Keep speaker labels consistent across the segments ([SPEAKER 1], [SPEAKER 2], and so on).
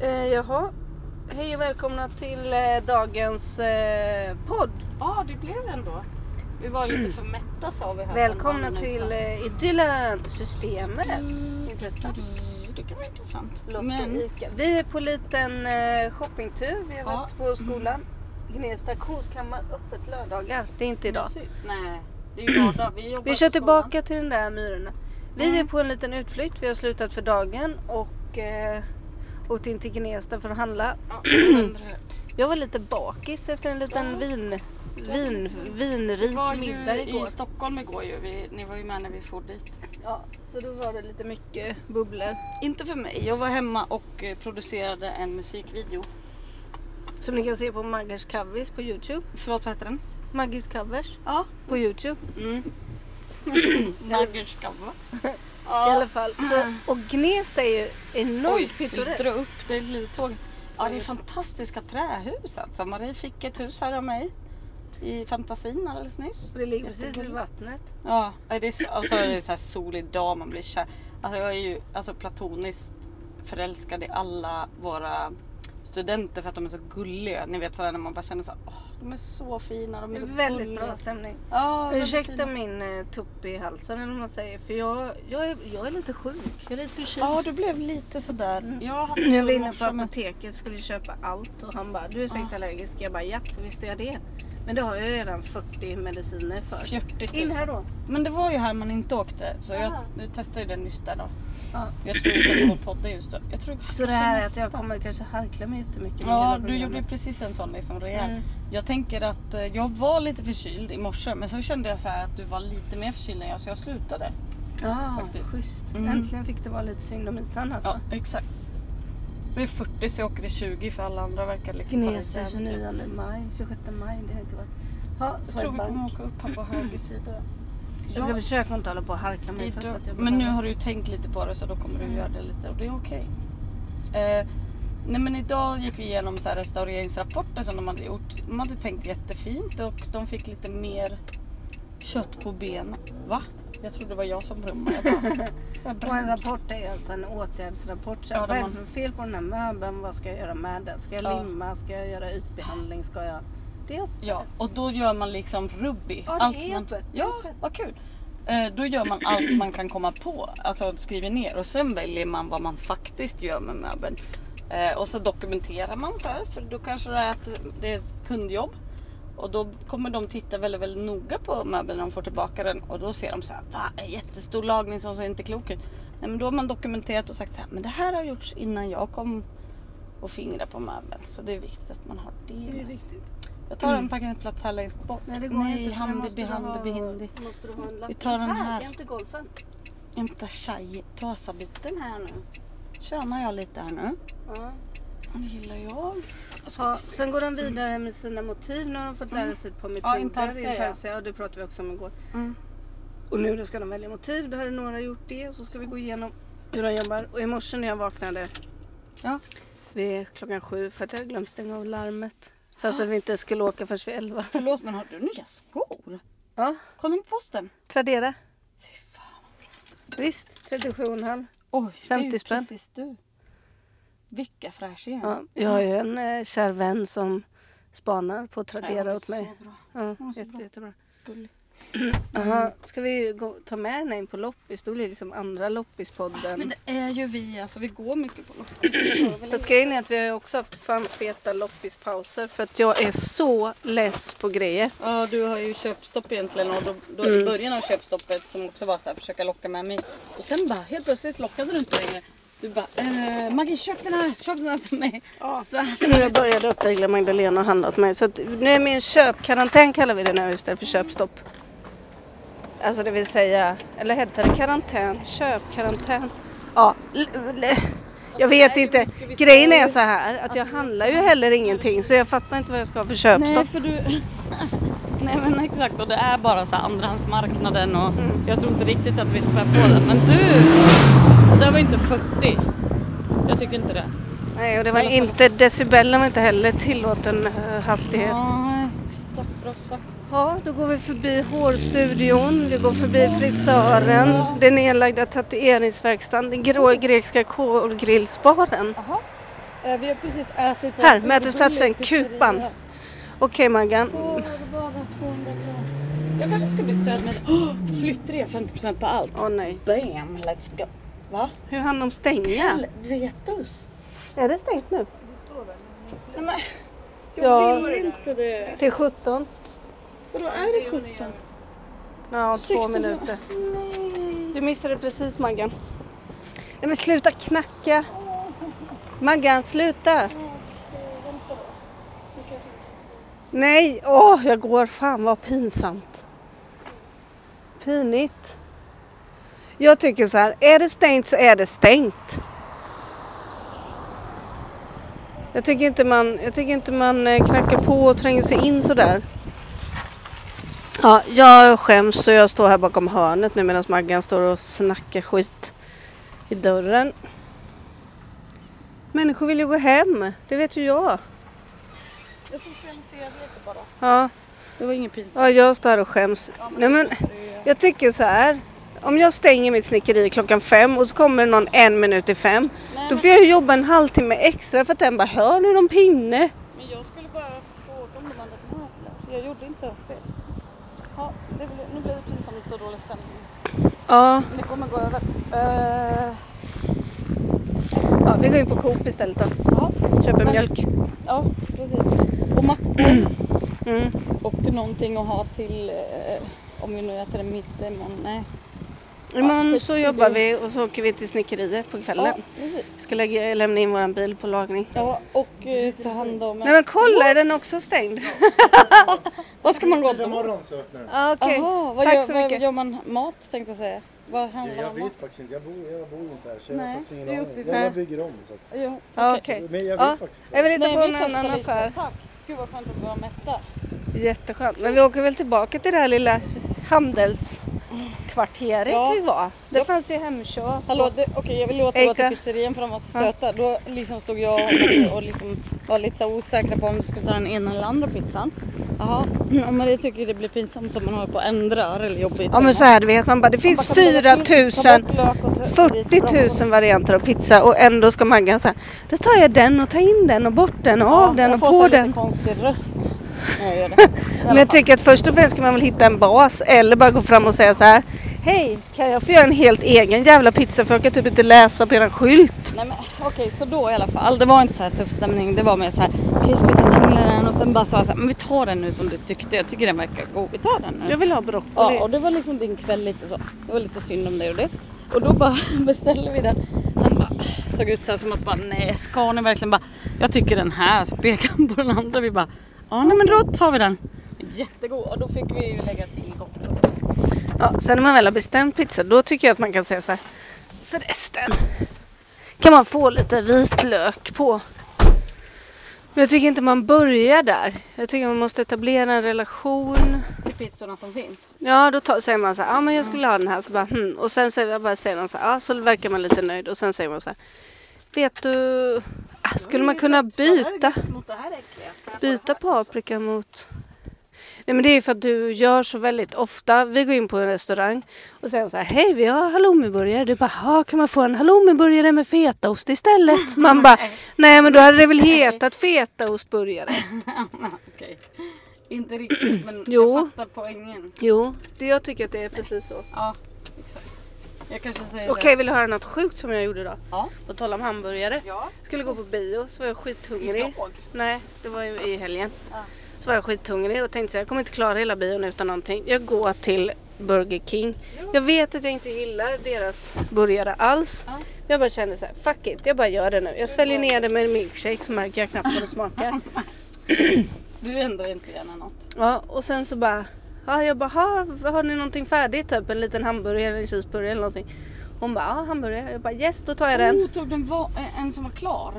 [SPEAKER 1] Eh, jaha. Hej och välkomna till eh, dagens eh, podd.
[SPEAKER 2] Ja, det blev en då. Vi var lite för mätta sa vi här. liksom. för
[SPEAKER 1] Välkomna
[SPEAKER 2] några minuter
[SPEAKER 1] till
[SPEAKER 2] sedan.
[SPEAKER 1] eh, Idyllen Systemet. Intressant.
[SPEAKER 2] Det kan vara intressant.
[SPEAKER 1] Lotta
[SPEAKER 2] Men
[SPEAKER 1] Ica. Vi är på liten eh, shoppingtur. Vi har
[SPEAKER 2] Ja.
[SPEAKER 1] varit på skolan. Gnesta auktionskammare öppet lördagar. Det är inte idag.
[SPEAKER 2] mysigt. Nej, det är ju vardag. Vi jobbar
[SPEAKER 1] Vi kör
[SPEAKER 2] på skolan.
[SPEAKER 1] tillbaka till den där myrorna. Vi
[SPEAKER 2] Mm.
[SPEAKER 1] är på en liten utflykt. Vi har slutat för dagen och eh, åkt in till Gnesta för att handla.
[SPEAKER 2] Ja, det händer det.
[SPEAKER 1] Jag var lite bakis efter en liten
[SPEAKER 2] Ja.
[SPEAKER 1] vin,
[SPEAKER 2] var
[SPEAKER 1] vin,
[SPEAKER 2] lite- vi
[SPEAKER 1] vinrik
[SPEAKER 2] var
[SPEAKER 1] middag
[SPEAKER 2] ju
[SPEAKER 1] igår.
[SPEAKER 2] i Stockholm igår ju. Vi, ni var ju med när vi for dit.
[SPEAKER 1] Ja, så då var det lite mycket bubblor.
[SPEAKER 2] Inte för mig. Jag var hemma och eh, producerade en musikvideo.
[SPEAKER 1] Som ni kan se på Maggers covers på Youtube.
[SPEAKER 2] Förlåt, vad heter den?
[SPEAKER 1] Maggis covers
[SPEAKER 2] Ja.
[SPEAKER 1] på Youtube
[SPEAKER 2] Mm. Naggerskava.
[SPEAKER 1] i alla fall. Så, och Gnesta är ju
[SPEAKER 2] Oj,
[SPEAKER 1] enormt
[SPEAKER 2] vill du dra
[SPEAKER 1] pittoreskt.
[SPEAKER 2] upp dig lite tåg. Ja, det är fantastiska trähus alltså. Marie fick ett hus här av mig i fantasin alldeles nyss.
[SPEAKER 1] Det ligger precis vid
[SPEAKER 2] Jättegulligt.
[SPEAKER 1] vattnet.
[SPEAKER 2] Ja, det är så, och så är det så här solig dag, man blir kär. Alltså jag är ju alltså, platoniskt förälskad i alla våra studenter för att de är så gulliga. Ni vet sådär när man bara känner så här, åh, de är så fina, de
[SPEAKER 1] Det
[SPEAKER 2] är
[SPEAKER 1] är
[SPEAKER 2] så
[SPEAKER 1] väldigt
[SPEAKER 2] gulliga.
[SPEAKER 1] bra stämning.
[SPEAKER 2] Ja, väldigt
[SPEAKER 1] Ursäkta
[SPEAKER 2] fina.
[SPEAKER 1] min eh, tupp i halsen eller vad man säger. För jag, jag, är, jag är lite sjuk. Jag är lite förkyld.
[SPEAKER 2] Ja, du blev lite sådär. Jag hade
[SPEAKER 1] Jag
[SPEAKER 2] så
[SPEAKER 1] var
[SPEAKER 2] i
[SPEAKER 1] inne på
[SPEAKER 2] morse med...
[SPEAKER 1] apoteket skulle köpa allt och han bara du är säkert allergisk. Jag bara japp visst är jag det. Men det har jag ju redan 40 mediciner för.
[SPEAKER 2] 40 000.
[SPEAKER 1] In här då.
[SPEAKER 2] Men det var ju här man inte åkte så jag,
[SPEAKER 1] Aha.
[SPEAKER 2] nu testade jag den nyss där då.
[SPEAKER 1] Ja.
[SPEAKER 2] Jag tror inte att vår podd är just då. Jag tror
[SPEAKER 1] Så det
[SPEAKER 2] kanske
[SPEAKER 1] här är att
[SPEAKER 2] nästa.
[SPEAKER 1] jag kommer kanske harkla mig jättemycket. med hela
[SPEAKER 2] Ja, du
[SPEAKER 1] programmet.
[SPEAKER 2] gjorde ju precis en sån liksom rejäl.
[SPEAKER 1] Mm.
[SPEAKER 2] Jag tänker att eh, jag var lite förkyld i morse men så kände jag så här att du var lite mer förkyld än jag så jag slutade.
[SPEAKER 1] Ja,
[SPEAKER 2] faktiskt.
[SPEAKER 1] schysst.
[SPEAKER 2] Mm.
[SPEAKER 1] Äntligen fick det vara lite synd om Isan alltså.
[SPEAKER 2] Ja, exakt. Det är 40 så jag åker i 20 för alla andra verkar liksom ta det
[SPEAKER 1] Gnesta
[SPEAKER 2] jävligt lugnt.
[SPEAKER 1] 29 maj, 26 maj. Det har inte varit. Ja,
[SPEAKER 2] Jag
[SPEAKER 1] så är
[SPEAKER 2] tror vi
[SPEAKER 1] det
[SPEAKER 2] kommer
[SPEAKER 1] bank.
[SPEAKER 2] åka upp här på höger sida.
[SPEAKER 1] Jag ska
[SPEAKER 2] Ja,
[SPEAKER 1] försöka inte hålla på och harkla mig fast
[SPEAKER 2] idag-
[SPEAKER 1] att jag
[SPEAKER 2] men nu
[SPEAKER 1] behöver.
[SPEAKER 2] har du ju tänkt lite på det så då kommer du
[SPEAKER 1] Mm.
[SPEAKER 2] göra det lite och det är okej. Eh, nej men idag gick vi igenom så här restaureringsrapporter som de hade gjort. De hade tänkt jättefint och de fick lite mer kött på benen. Va? Jag trodde det var jag som brummade. Jag bara, jag
[SPEAKER 1] Och en
[SPEAKER 2] bremsar.
[SPEAKER 1] rapport är alltså en åtgärdsrapport. Så
[SPEAKER 2] Ja, de
[SPEAKER 1] vad är
[SPEAKER 2] har-
[SPEAKER 1] det för fel på den här möbeln? Vad ska jag göra med den? Ska jag
[SPEAKER 2] Ja.
[SPEAKER 1] limma? Ska jag göra ytbehandling? Ska jag... Det är upp.
[SPEAKER 2] Ja, och då gör man liksom rubby.
[SPEAKER 1] Ja, det är
[SPEAKER 2] man...
[SPEAKER 1] öppet, det är
[SPEAKER 2] Ja,
[SPEAKER 1] öppet.
[SPEAKER 2] vad kul. Eh, Då gör man allt man kan komma på, alltså skriver ner och sen väljer man vad man faktiskt gör med möbeln. Eh, Och så dokumenterar man så här, för då kanske det är, ett, det är ett kundjobb. Och då kommer de titta väldigt, väldigt noga på möbeln när de får tillbaka den och då ser de så här, va, en jättestor lagning som ser inte klok ut. Nej, men då har man dokumenterat och sagt så här, men det här har gjorts innan jag kom och fingrade på möbeln. Så det är viktigt att man har det med
[SPEAKER 1] Det är
[SPEAKER 2] sig.
[SPEAKER 1] viktigt.
[SPEAKER 2] Jag tar en parkeringsplats här längst bort.
[SPEAKER 1] Mm. Nej det går inte. för då
[SPEAKER 2] handi,
[SPEAKER 1] måste du
[SPEAKER 2] behandi,
[SPEAKER 1] ha-
[SPEAKER 2] behindi.
[SPEAKER 1] Måste du ha en lapp?
[SPEAKER 2] Vi tar den här.
[SPEAKER 1] jämte golfen.
[SPEAKER 2] Inte tjej. Tasabiten här nu. Tjänar jag lite här nu.
[SPEAKER 1] Ja.
[SPEAKER 2] Ja, Det gillar jag. Och så-
[SPEAKER 1] Ja, sen går de vidare med sina motiv. Nu har de fått lära sig ett par metoder.
[SPEAKER 2] Mm. Ja, intarsia,
[SPEAKER 1] Intarsia, ja. Det pratade vi också om igår.
[SPEAKER 2] Mm.
[SPEAKER 1] Och nu då ska de välja motiv. Då hade några gjort det. Och så ska vi gå igenom hur de jobbar. Och i morse när jag vaknade
[SPEAKER 2] Ja.
[SPEAKER 1] vid klockan sju för att jag glömde stänga av larmet. Fast att vi inte skulle åka förrän vid elva.
[SPEAKER 2] Förlåt men har du nya skor?
[SPEAKER 1] Ja,
[SPEAKER 2] Kom med posten.
[SPEAKER 1] Tradera.
[SPEAKER 2] Fy fan.
[SPEAKER 1] Visst, 37,5.
[SPEAKER 2] Oj,
[SPEAKER 1] 50
[SPEAKER 2] det är ju
[SPEAKER 1] spänn.
[SPEAKER 2] precis du. Vilka fräscha igen.
[SPEAKER 1] Ja, jag har ju en eh, kär vän som spanar på att Tradera åt mig.
[SPEAKER 2] Så bra.
[SPEAKER 1] Ja,
[SPEAKER 2] hon är så
[SPEAKER 1] jätte,
[SPEAKER 2] bra.
[SPEAKER 1] jättebra.
[SPEAKER 2] Gullig.
[SPEAKER 1] Aha, ska vi gå, ta med henne in på loppis? Då blir det liksom andra
[SPEAKER 2] Men
[SPEAKER 1] loppispodden.
[SPEAKER 2] det är ju vi alltså. Vi går mycket på loppis.
[SPEAKER 1] Fast grejen är att vi har ju också haft fan feta loppispauser för att jag är så less på grejer.
[SPEAKER 2] Ja, du har ju köpstopp egentligen och då, då
[SPEAKER 1] Mm.
[SPEAKER 2] i början av köpstoppet som också var så här försöka locka med mig. Och sen bara helt plötsligt lockade du inte längre. Du bara eh, Maggie köp den här, köp den här till mig. Så här.
[SPEAKER 1] Nu jag började uppdagla Magdalena och handla åt mig så att nu är min köpkarantän kallar vi det nu istället för köpstopp. Alltså det vill säga, eller hette det karantän? Köpkarantän? Ja, l- l- jag vet inte. Grejen är så här att jag handlar ju heller ingenting så jag fattar inte vad jag ska ha för
[SPEAKER 2] Nej,
[SPEAKER 1] köpstopp.
[SPEAKER 2] för du... Nej men exakt och det är bara så här andrahandsmarknaden och
[SPEAKER 1] Mm.
[SPEAKER 2] jag tror inte riktigt att vi spär på den. Men du, det där var ju inte 40. Jag tycker inte det.
[SPEAKER 1] Nej, och det var inte, decibellen var inte heller tillåten eh, hastighet.
[SPEAKER 2] Nej, exakt bra sagt.
[SPEAKER 1] Ja, då går vi förbi hårstudion, vi går förbi frisören, den nedlagda tatueringsverkstaden, den grå grekiska kolgrillsbaren.
[SPEAKER 2] Jaha,
[SPEAKER 3] Eh, Vi har precis ätit på
[SPEAKER 1] Här,
[SPEAKER 3] en
[SPEAKER 1] mötesplatsen,
[SPEAKER 3] pizzeria.
[SPEAKER 1] Kupan. Okej Maggan.
[SPEAKER 3] Får bara 200 kronor.
[SPEAKER 2] Jag kanske ska bli stöd med oh, flyttrea 50% på allt.
[SPEAKER 1] Åh nej.
[SPEAKER 2] Bam, let's go. Va?
[SPEAKER 1] Hur hann de stänga?
[SPEAKER 2] Helvetus.
[SPEAKER 1] Är det stängt nu?
[SPEAKER 2] Nej, men, jag
[SPEAKER 1] Ja.
[SPEAKER 2] vill inte det.
[SPEAKER 1] Till 17?
[SPEAKER 2] Vadå är det 17?
[SPEAKER 1] Ja, två
[SPEAKER 2] 16.
[SPEAKER 1] minuter.
[SPEAKER 2] Nej.
[SPEAKER 1] Du missade precis Maggan. Nej men sluta knacka! Maggan, sluta! Nej, åh jag går. Fan vad pinsamt. Pinigt. Jag tycker så här, är det stängt så är det stängt. Jag tycker inte man, jag tycker inte man eh, knackar på och tränger sig in sådär. Ja, jag skäms så jag står här bakom hörnet nu medan Maggan står och snackar skit i dörren. Människor vill ju gå hem, det vet ju jag.
[SPEAKER 2] Jag socialiserade lite bara.
[SPEAKER 1] Ja,
[SPEAKER 2] Det var ingen pinsamt.
[SPEAKER 1] ja jag står här och skäms. Nej men jag tycker så här. Om jag stänger mitt snickeri klockan fem och så kommer det någon en minut i fem. Då får jag ju jobba en halvtimme extra för att den bara hör nu är någon pinne.
[SPEAKER 2] Men jag skulle bara fråga om de hade möbler. Jag gjorde inte ens det. Ja, det blir, nu blir det pinsamt och dålig stämning.
[SPEAKER 1] Ja,
[SPEAKER 2] Men det kommer gå över. Eh,
[SPEAKER 1] ja vi går in på Coop istället då.
[SPEAKER 2] ja,
[SPEAKER 1] Köper mjölk.
[SPEAKER 2] ja, precis. Och mackor.
[SPEAKER 1] Mm.
[SPEAKER 2] Och någonting att ha till, eh, om vi nu äter en mitt imorgon. Nej.
[SPEAKER 1] Imorgon så jobbar vi och så åker vi till snickeriet på kvällen.
[SPEAKER 2] Ja, precis.
[SPEAKER 1] Ska lägga, lämna in våran bil på lagning.
[SPEAKER 2] Ja, och eh, ta hand om...
[SPEAKER 1] Nej men kolla, är den också stängd?
[SPEAKER 2] Vad ska man gå
[SPEAKER 4] På
[SPEAKER 2] då?
[SPEAKER 4] morgon så öppnar den.
[SPEAKER 1] Ja, Okej,
[SPEAKER 2] Jaha, vad,
[SPEAKER 1] tack
[SPEAKER 2] gör,
[SPEAKER 1] så
[SPEAKER 2] vad
[SPEAKER 1] mycket.
[SPEAKER 2] gör man mat tänkte jag säga? Vad
[SPEAKER 4] Ja,
[SPEAKER 2] handlar
[SPEAKER 4] jag
[SPEAKER 2] om mat?
[SPEAKER 4] vet faktiskt inte. Jag bor, jag bor inte här så jag
[SPEAKER 2] Nej,
[SPEAKER 4] har faktiskt ingen
[SPEAKER 2] du är
[SPEAKER 4] aning.
[SPEAKER 2] uppe i-
[SPEAKER 4] Jag bara
[SPEAKER 1] Nej.
[SPEAKER 4] bygger om. Så att,
[SPEAKER 2] Jo,
[SPEAKER 1] Ja,
[SPEAKER 2] okej.
[SPEAKER 1] okej.
[SPEAKER 4] Men jag vet
[SPEAKER 1] Ja,
[SPEAKER 4] faktiskt inte.
[SPEAKER 1] Jag vill inte
[SPEAKER 2] Nej,
[SPEAKER 1] på
[SPEAKER 2] vi
[SPEAKER 1] någon
[SPEAKER 2] testar
[SPEAKER 1] annan
[SPEAKER 2] lite.
[SPEAKER 1] affär.
[SPEAKER 2] Tack. Gud vad skönt att vara mätta.
[SPEAKER 1] Jätteskönt. Men vi åker väl tillbaka till det här lilla handelskvarteret
[SPEAKER 2] Ja.
[SPEAKER 1] vi var. Det
[SPEAKER 2] Ja.
[SPEAKER 1] fanns ju Hemköp.
[SPEAKER 2] Hallå, det- okej jag vill återgå till
[SPEAKER 1] Erika.
[SPEAKER 2] pizzerian för de var så
[SPEAKER 1] Ja.
[SPEAKER 2] söta. Då liksom stod jag och, och liksom var lite så osäkra på om vi skulle ta den ena eller andra pizzan. Jaha, och Maria tycker det blir pinsamt om man håller på att ändra eller jobbigt.
[SPEAKER 1] Ja men så här du vet man bara, det finns 4 000 40 000 varianter av pizza och ändå ska Maggan säga Då tar jag den och tar in den och bort den och av den och
[SPEAKER 2] Jag får så
[SPEAKER 1] på
[SPEAKER 2] lite
[SPEAKER 1] den.
[SPEAKER 2] konstig röst när jag gör det. I alla
[SPEAKER 1] Men jag
[SPEAKER 2] fall.
[SPEAKER 1] tycker att först och främst ska man väl hitta en bas eller bara gå fram och säga så här. Hej, kan jag få göra en helt egen jävla pizza för jag kan typ inte läsa på eran skylt.
[SPEAKER 2] Nej men okej, så då i alla fall. Det var inte så här tuff stämning. Det var mer så här, okej ska vi ta den eller den? Och sen bara sa jag så här, men vi tar den nu som du tyckte. Jag tycker den verkar god. Vi tar den nu.
[SPEAKER 1] Jag vill ha broccoli.
[SPEAKER 2] Ja, och det var liksom din kväll lite så. Det var lite synd om dig och det. Och då bara beställde vi den. Han bara, såg ut så här som att bara, nej ska ni verkligen bara, jag tycker den här. Så pekade han på den andra. Vi bara, ja nej men då tar vi den. Jättegod. Och då fick vi ju lägga till gott.
[SPEAKER 1] Ja, sen när man väl har bestämt pizza, då tycker jag att man kan säga så här. Förresten, kan man få lite vitlök på? Men jag tycker inte man börjar där. Jag tycker man måste etablera en relation.
[SPEAKER 2] Till pizzorna som finns.
[SPEAKER 1] Ja, då tar, säger man så här, ja ah, men jag skulle ha den här. Så bara, hmm. Och sen säger, jag bara, säger man så här, ah, så verkar man lite nöjd. Och sen säger man så här, vet du, ah, skulle man kunna byta?
[SPEAKER 2] Mot det här äckliga.
[SPEAKER 1] Byta paprika mot... Nej men det är för att du gör så väldigt ofta. Vi går in på en restaurang och säger så här, hej vi har halloumiburgare. Du bara, "Ja, kan man få en halloumiburgare med fetaost istället? Man bara, nej men då hade det väl hetat fetaostburgare.
[SPEAKER 2] Okej. Inte riktigt men
[SPEAKER 1] Jo.
[SPEAKER 2] jag fattar poängen.
[SPEAKER 1] Jo, det jag tycker att det är precis så.
[SPEAKER 2] Ja, exakt. Jag kanske säger
[SPEAKER 1] Okej, vill du höra något sjukt som jag gjorde då?
[SPEAKER 2] Ja.
[SPEAKER 1] På tal om hamburgare.
[SPEAKER 2] Ja.
[SPEAKER 1] Skulle gå på bio så var jag skithungrig.
[SPEAKER 2] Idag?
[SPEAKER 1] Nej, det var ju i helgen.
[SPEAKER 2] Ja.
[SPEAKER 1] Så var jag skithungrig och tänkte så här, jag kommer inte klara hela bion utan någonting. Jag går till Burger King. Jag vet att jag inte gillar deras burgare alls.
[SPEAKER 2] Ja.
[SPEAKER 1] Jag bara kände så här, fuck it, jag bara gör det nu. Jag sväljer ner det med en milkshake så märker jag knappt vad det smakar.
[SPEAKER 2] Du ändrar inte gärna något.
[SPEAKER 1] Ja, och sen så bara, ja, jag bara, ha, har ni någonting färdigt? Typ en liten hamburgare eller en cheeseburgare eller någonting. Hon bara, ja hamburgare. Jag bara, yes då tar jag den.
[SPEAKER 2] Oh, tog den va- en som var klar?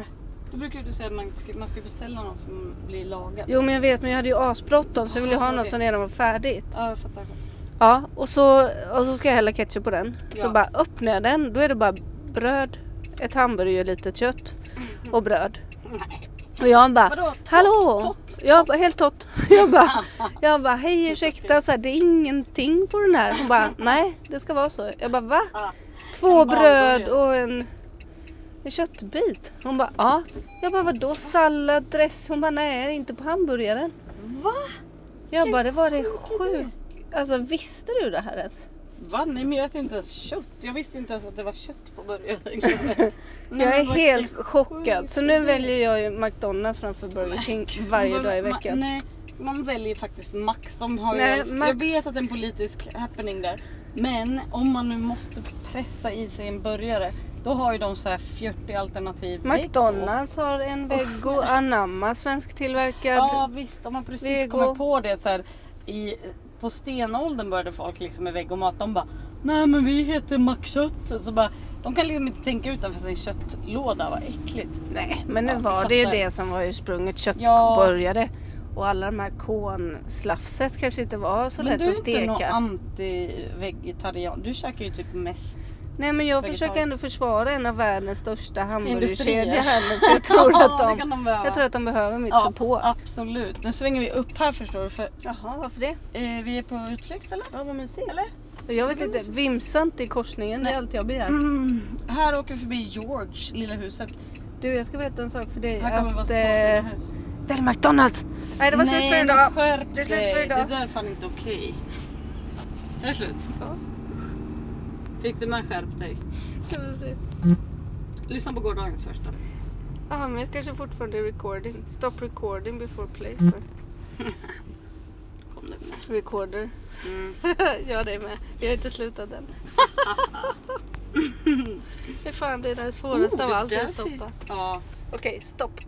[SPEAKER 2] Då brukar du säga att man ska, man ska beställa något som blir lagat.
[SPEAKER 1] Jo men jag vet men jag hade ju asbråttom så jag ville ha
[SPEAKER 2] Aha,
[SPEAKER 1] något
[SPEAKER 2] okej.
[SPEAKER 1] som redan var färdigt.
[SPEAKER 2] Ja, jag fattar. jag fattar.
[SPEAKER 1] Ja och så, och så ska jag hälla ketchup på den.
[SPEAKER 2] Ja.
[SPEAKER 1] Så bara öppnar jag den då är det bara bröd, ett hamburgare, lite kött och bröd. Och jag bara,
[SPEAKER 2] Vadå, tott,
[SPEAKER 1] hallå!
[SPEAKER 2] tott,
[SPEAKER 1] jag bara, helt tott. Jag bara, jag bara hej ursäkta, så här, det är ingenting på den här. Hon bara, nej det ska vara så. Jag bara, va?
[SPEAKER 2] Ja.
[SPEAKER 1] Två
[SPEAKER 2] En barnburgare.
[SPEAKER 1] bröd och en, en en köttbit. Hon bara ja. Jag bara vadå sallad, dress? Hon bara nej inte på hamburgaren.
[SPEAKER 2] Va?
[SPEAKER 1] Jag bara det var det sjukt. Alltså visste du det här ens?
[SPEAKER 2] Va? Nej men jag äter ju inte ens kött. Jag visste inte ens att det var kött på burgaren. Nej,
[SPEAKER 1] Jag är
[SPEAKER 2] men vad
[SPEAKER 1] helt
[SPEAKER 2] sjukt
[SPEAKER 1] chockad. Så nu
[SPEAKER 2] idé.
[SPEAKER 1] väljer jag ju McDonalds framför Burger King varje
[SPEAKER 2] Man-
[SPEAKER 1] dag i
[SPEAKER 2] man-
[SPEAKER 1] veckan.
[SPEAKER 2] Nej, man väljer faktiskt Max. De har
[SPEAKER 1] Nej,
[SPEAKER 2] ju,
[SPEAKER 1] Max-
[SPEAKER 2] Jag vet att det är en politisk happening där. Men om man nu måste pressa i sig en burgare. Då har ju de så här 40 alternativ.
[SPEAKER 1] McDonalds har en veggo, anamma svensktillverkad.
[SPEAKER 2] Ja visst, de har precis
[SPEAKER 1] Vego.
[SPEAKER 2] kommit på det så här, i, På stenåldern började folk liksom med vegomat. De bara Nej men vi heter mackkött. Så bara, de kan liksom inte tänka utanför sin köttlåda, vad äckligt.
[SPEAKER 1] Nej, men nu
[SPEAKER 2] Ja,
[SPEAKER 1] var
[SPEAKER 2] jag
[SPEAKER 1] det ju
[SPEAKER 2] fattar.
[SPEAKER 1] det som var ursprunget,
[SPEAKER 2] Ja.
[SPEAKER 1] köttburgare. Och alla de här konslafset kanske inte var så
[SPEAKER 2] men
[SPEAKER 1] lätt
[SPEAKER 2] du
[SPEAKER 1] att
[SPEAKER 2] är inte
[SPEAKER 1] steka.
[SPEAKER 2] någon anti-vegetarian. Du käkar ju typ mest
[SPEAKER 1] Nej men jag
[SPEAKER 2] Vegetariskt.
[SPEAKER 1] försöker ändå försvara en av världens största hamburgerkedja
[SPEAKER 2] Industrier.
[SPEAKER 1] här nu för jag tror,
[SPEAKER 2] Ja,
[SPEAKER 1] att
[SPEAKER 2] det
[SPEAKER 1] de,
[SPEAKER 2] kan de behöva.
[SPEAKER 1] jag tror att de behöver mitt
[SPEAKER 2] Ja,
[SPEAKER 1] support.
[SPEAKER 2] absolut. Nu svänger vi upp här förstår du för
[SPEAKER 1] Jaha varför det?
[SPEAKER 2] eh, vi är på utflykt eller?
[SPEAKER 1] Ja vad mysigt.
[SPEAKER 2] Eller?
[SPEAKER 1] Jag vet inte, vimsant i korsningen det är allt jag begär.
[SPEAKER 2] Mm. Här åker vi förbi George, lilla huset.
[SPEAKER 1] Du jag ska berätta en sak för dig.
[SPEAKER 2] Här kommer vara så
[SPEAKER 1] eh,
[SPEAKER 2] fina hus.
[SPEAKER 1] Väl McDonalds! Nej det var slut för
[SPEAKER 2] men
[SPEAKER 1] idag.
[SPEAKER 2] skärp
[SPEAKER 1] Det är slut för
[SPEAKER 2] dig.
[SPEAKER 1] idag.
[SPEAKER 2] Det där är fan inte okej. Är det slut? Fick du med skärp dig?
[SPEAKER 1] Ska vi se.
[SPEAKER 2] Lyssna på gårdagens första.
[SPEAKER 1] Ja Ah, men jag kanske fortfarande är recording. Stop recording before play. sir.
[SPEAKER 2] Kom du med.
[SPEAKER 1] Recorder.
[SPEAKER 2] Mm.
[SPEAKER 1] jag det med. Jag har inte slutat än. Fy fan det är det svåraste av allt
[SPEAKER 2] där
[SPEAKER 1] att
[SPEAKER 2] ser-
[SPEAKER 1] stoppa.
[SPEAKER 2] Ja.
[SPEAKER 1] Okej stopp.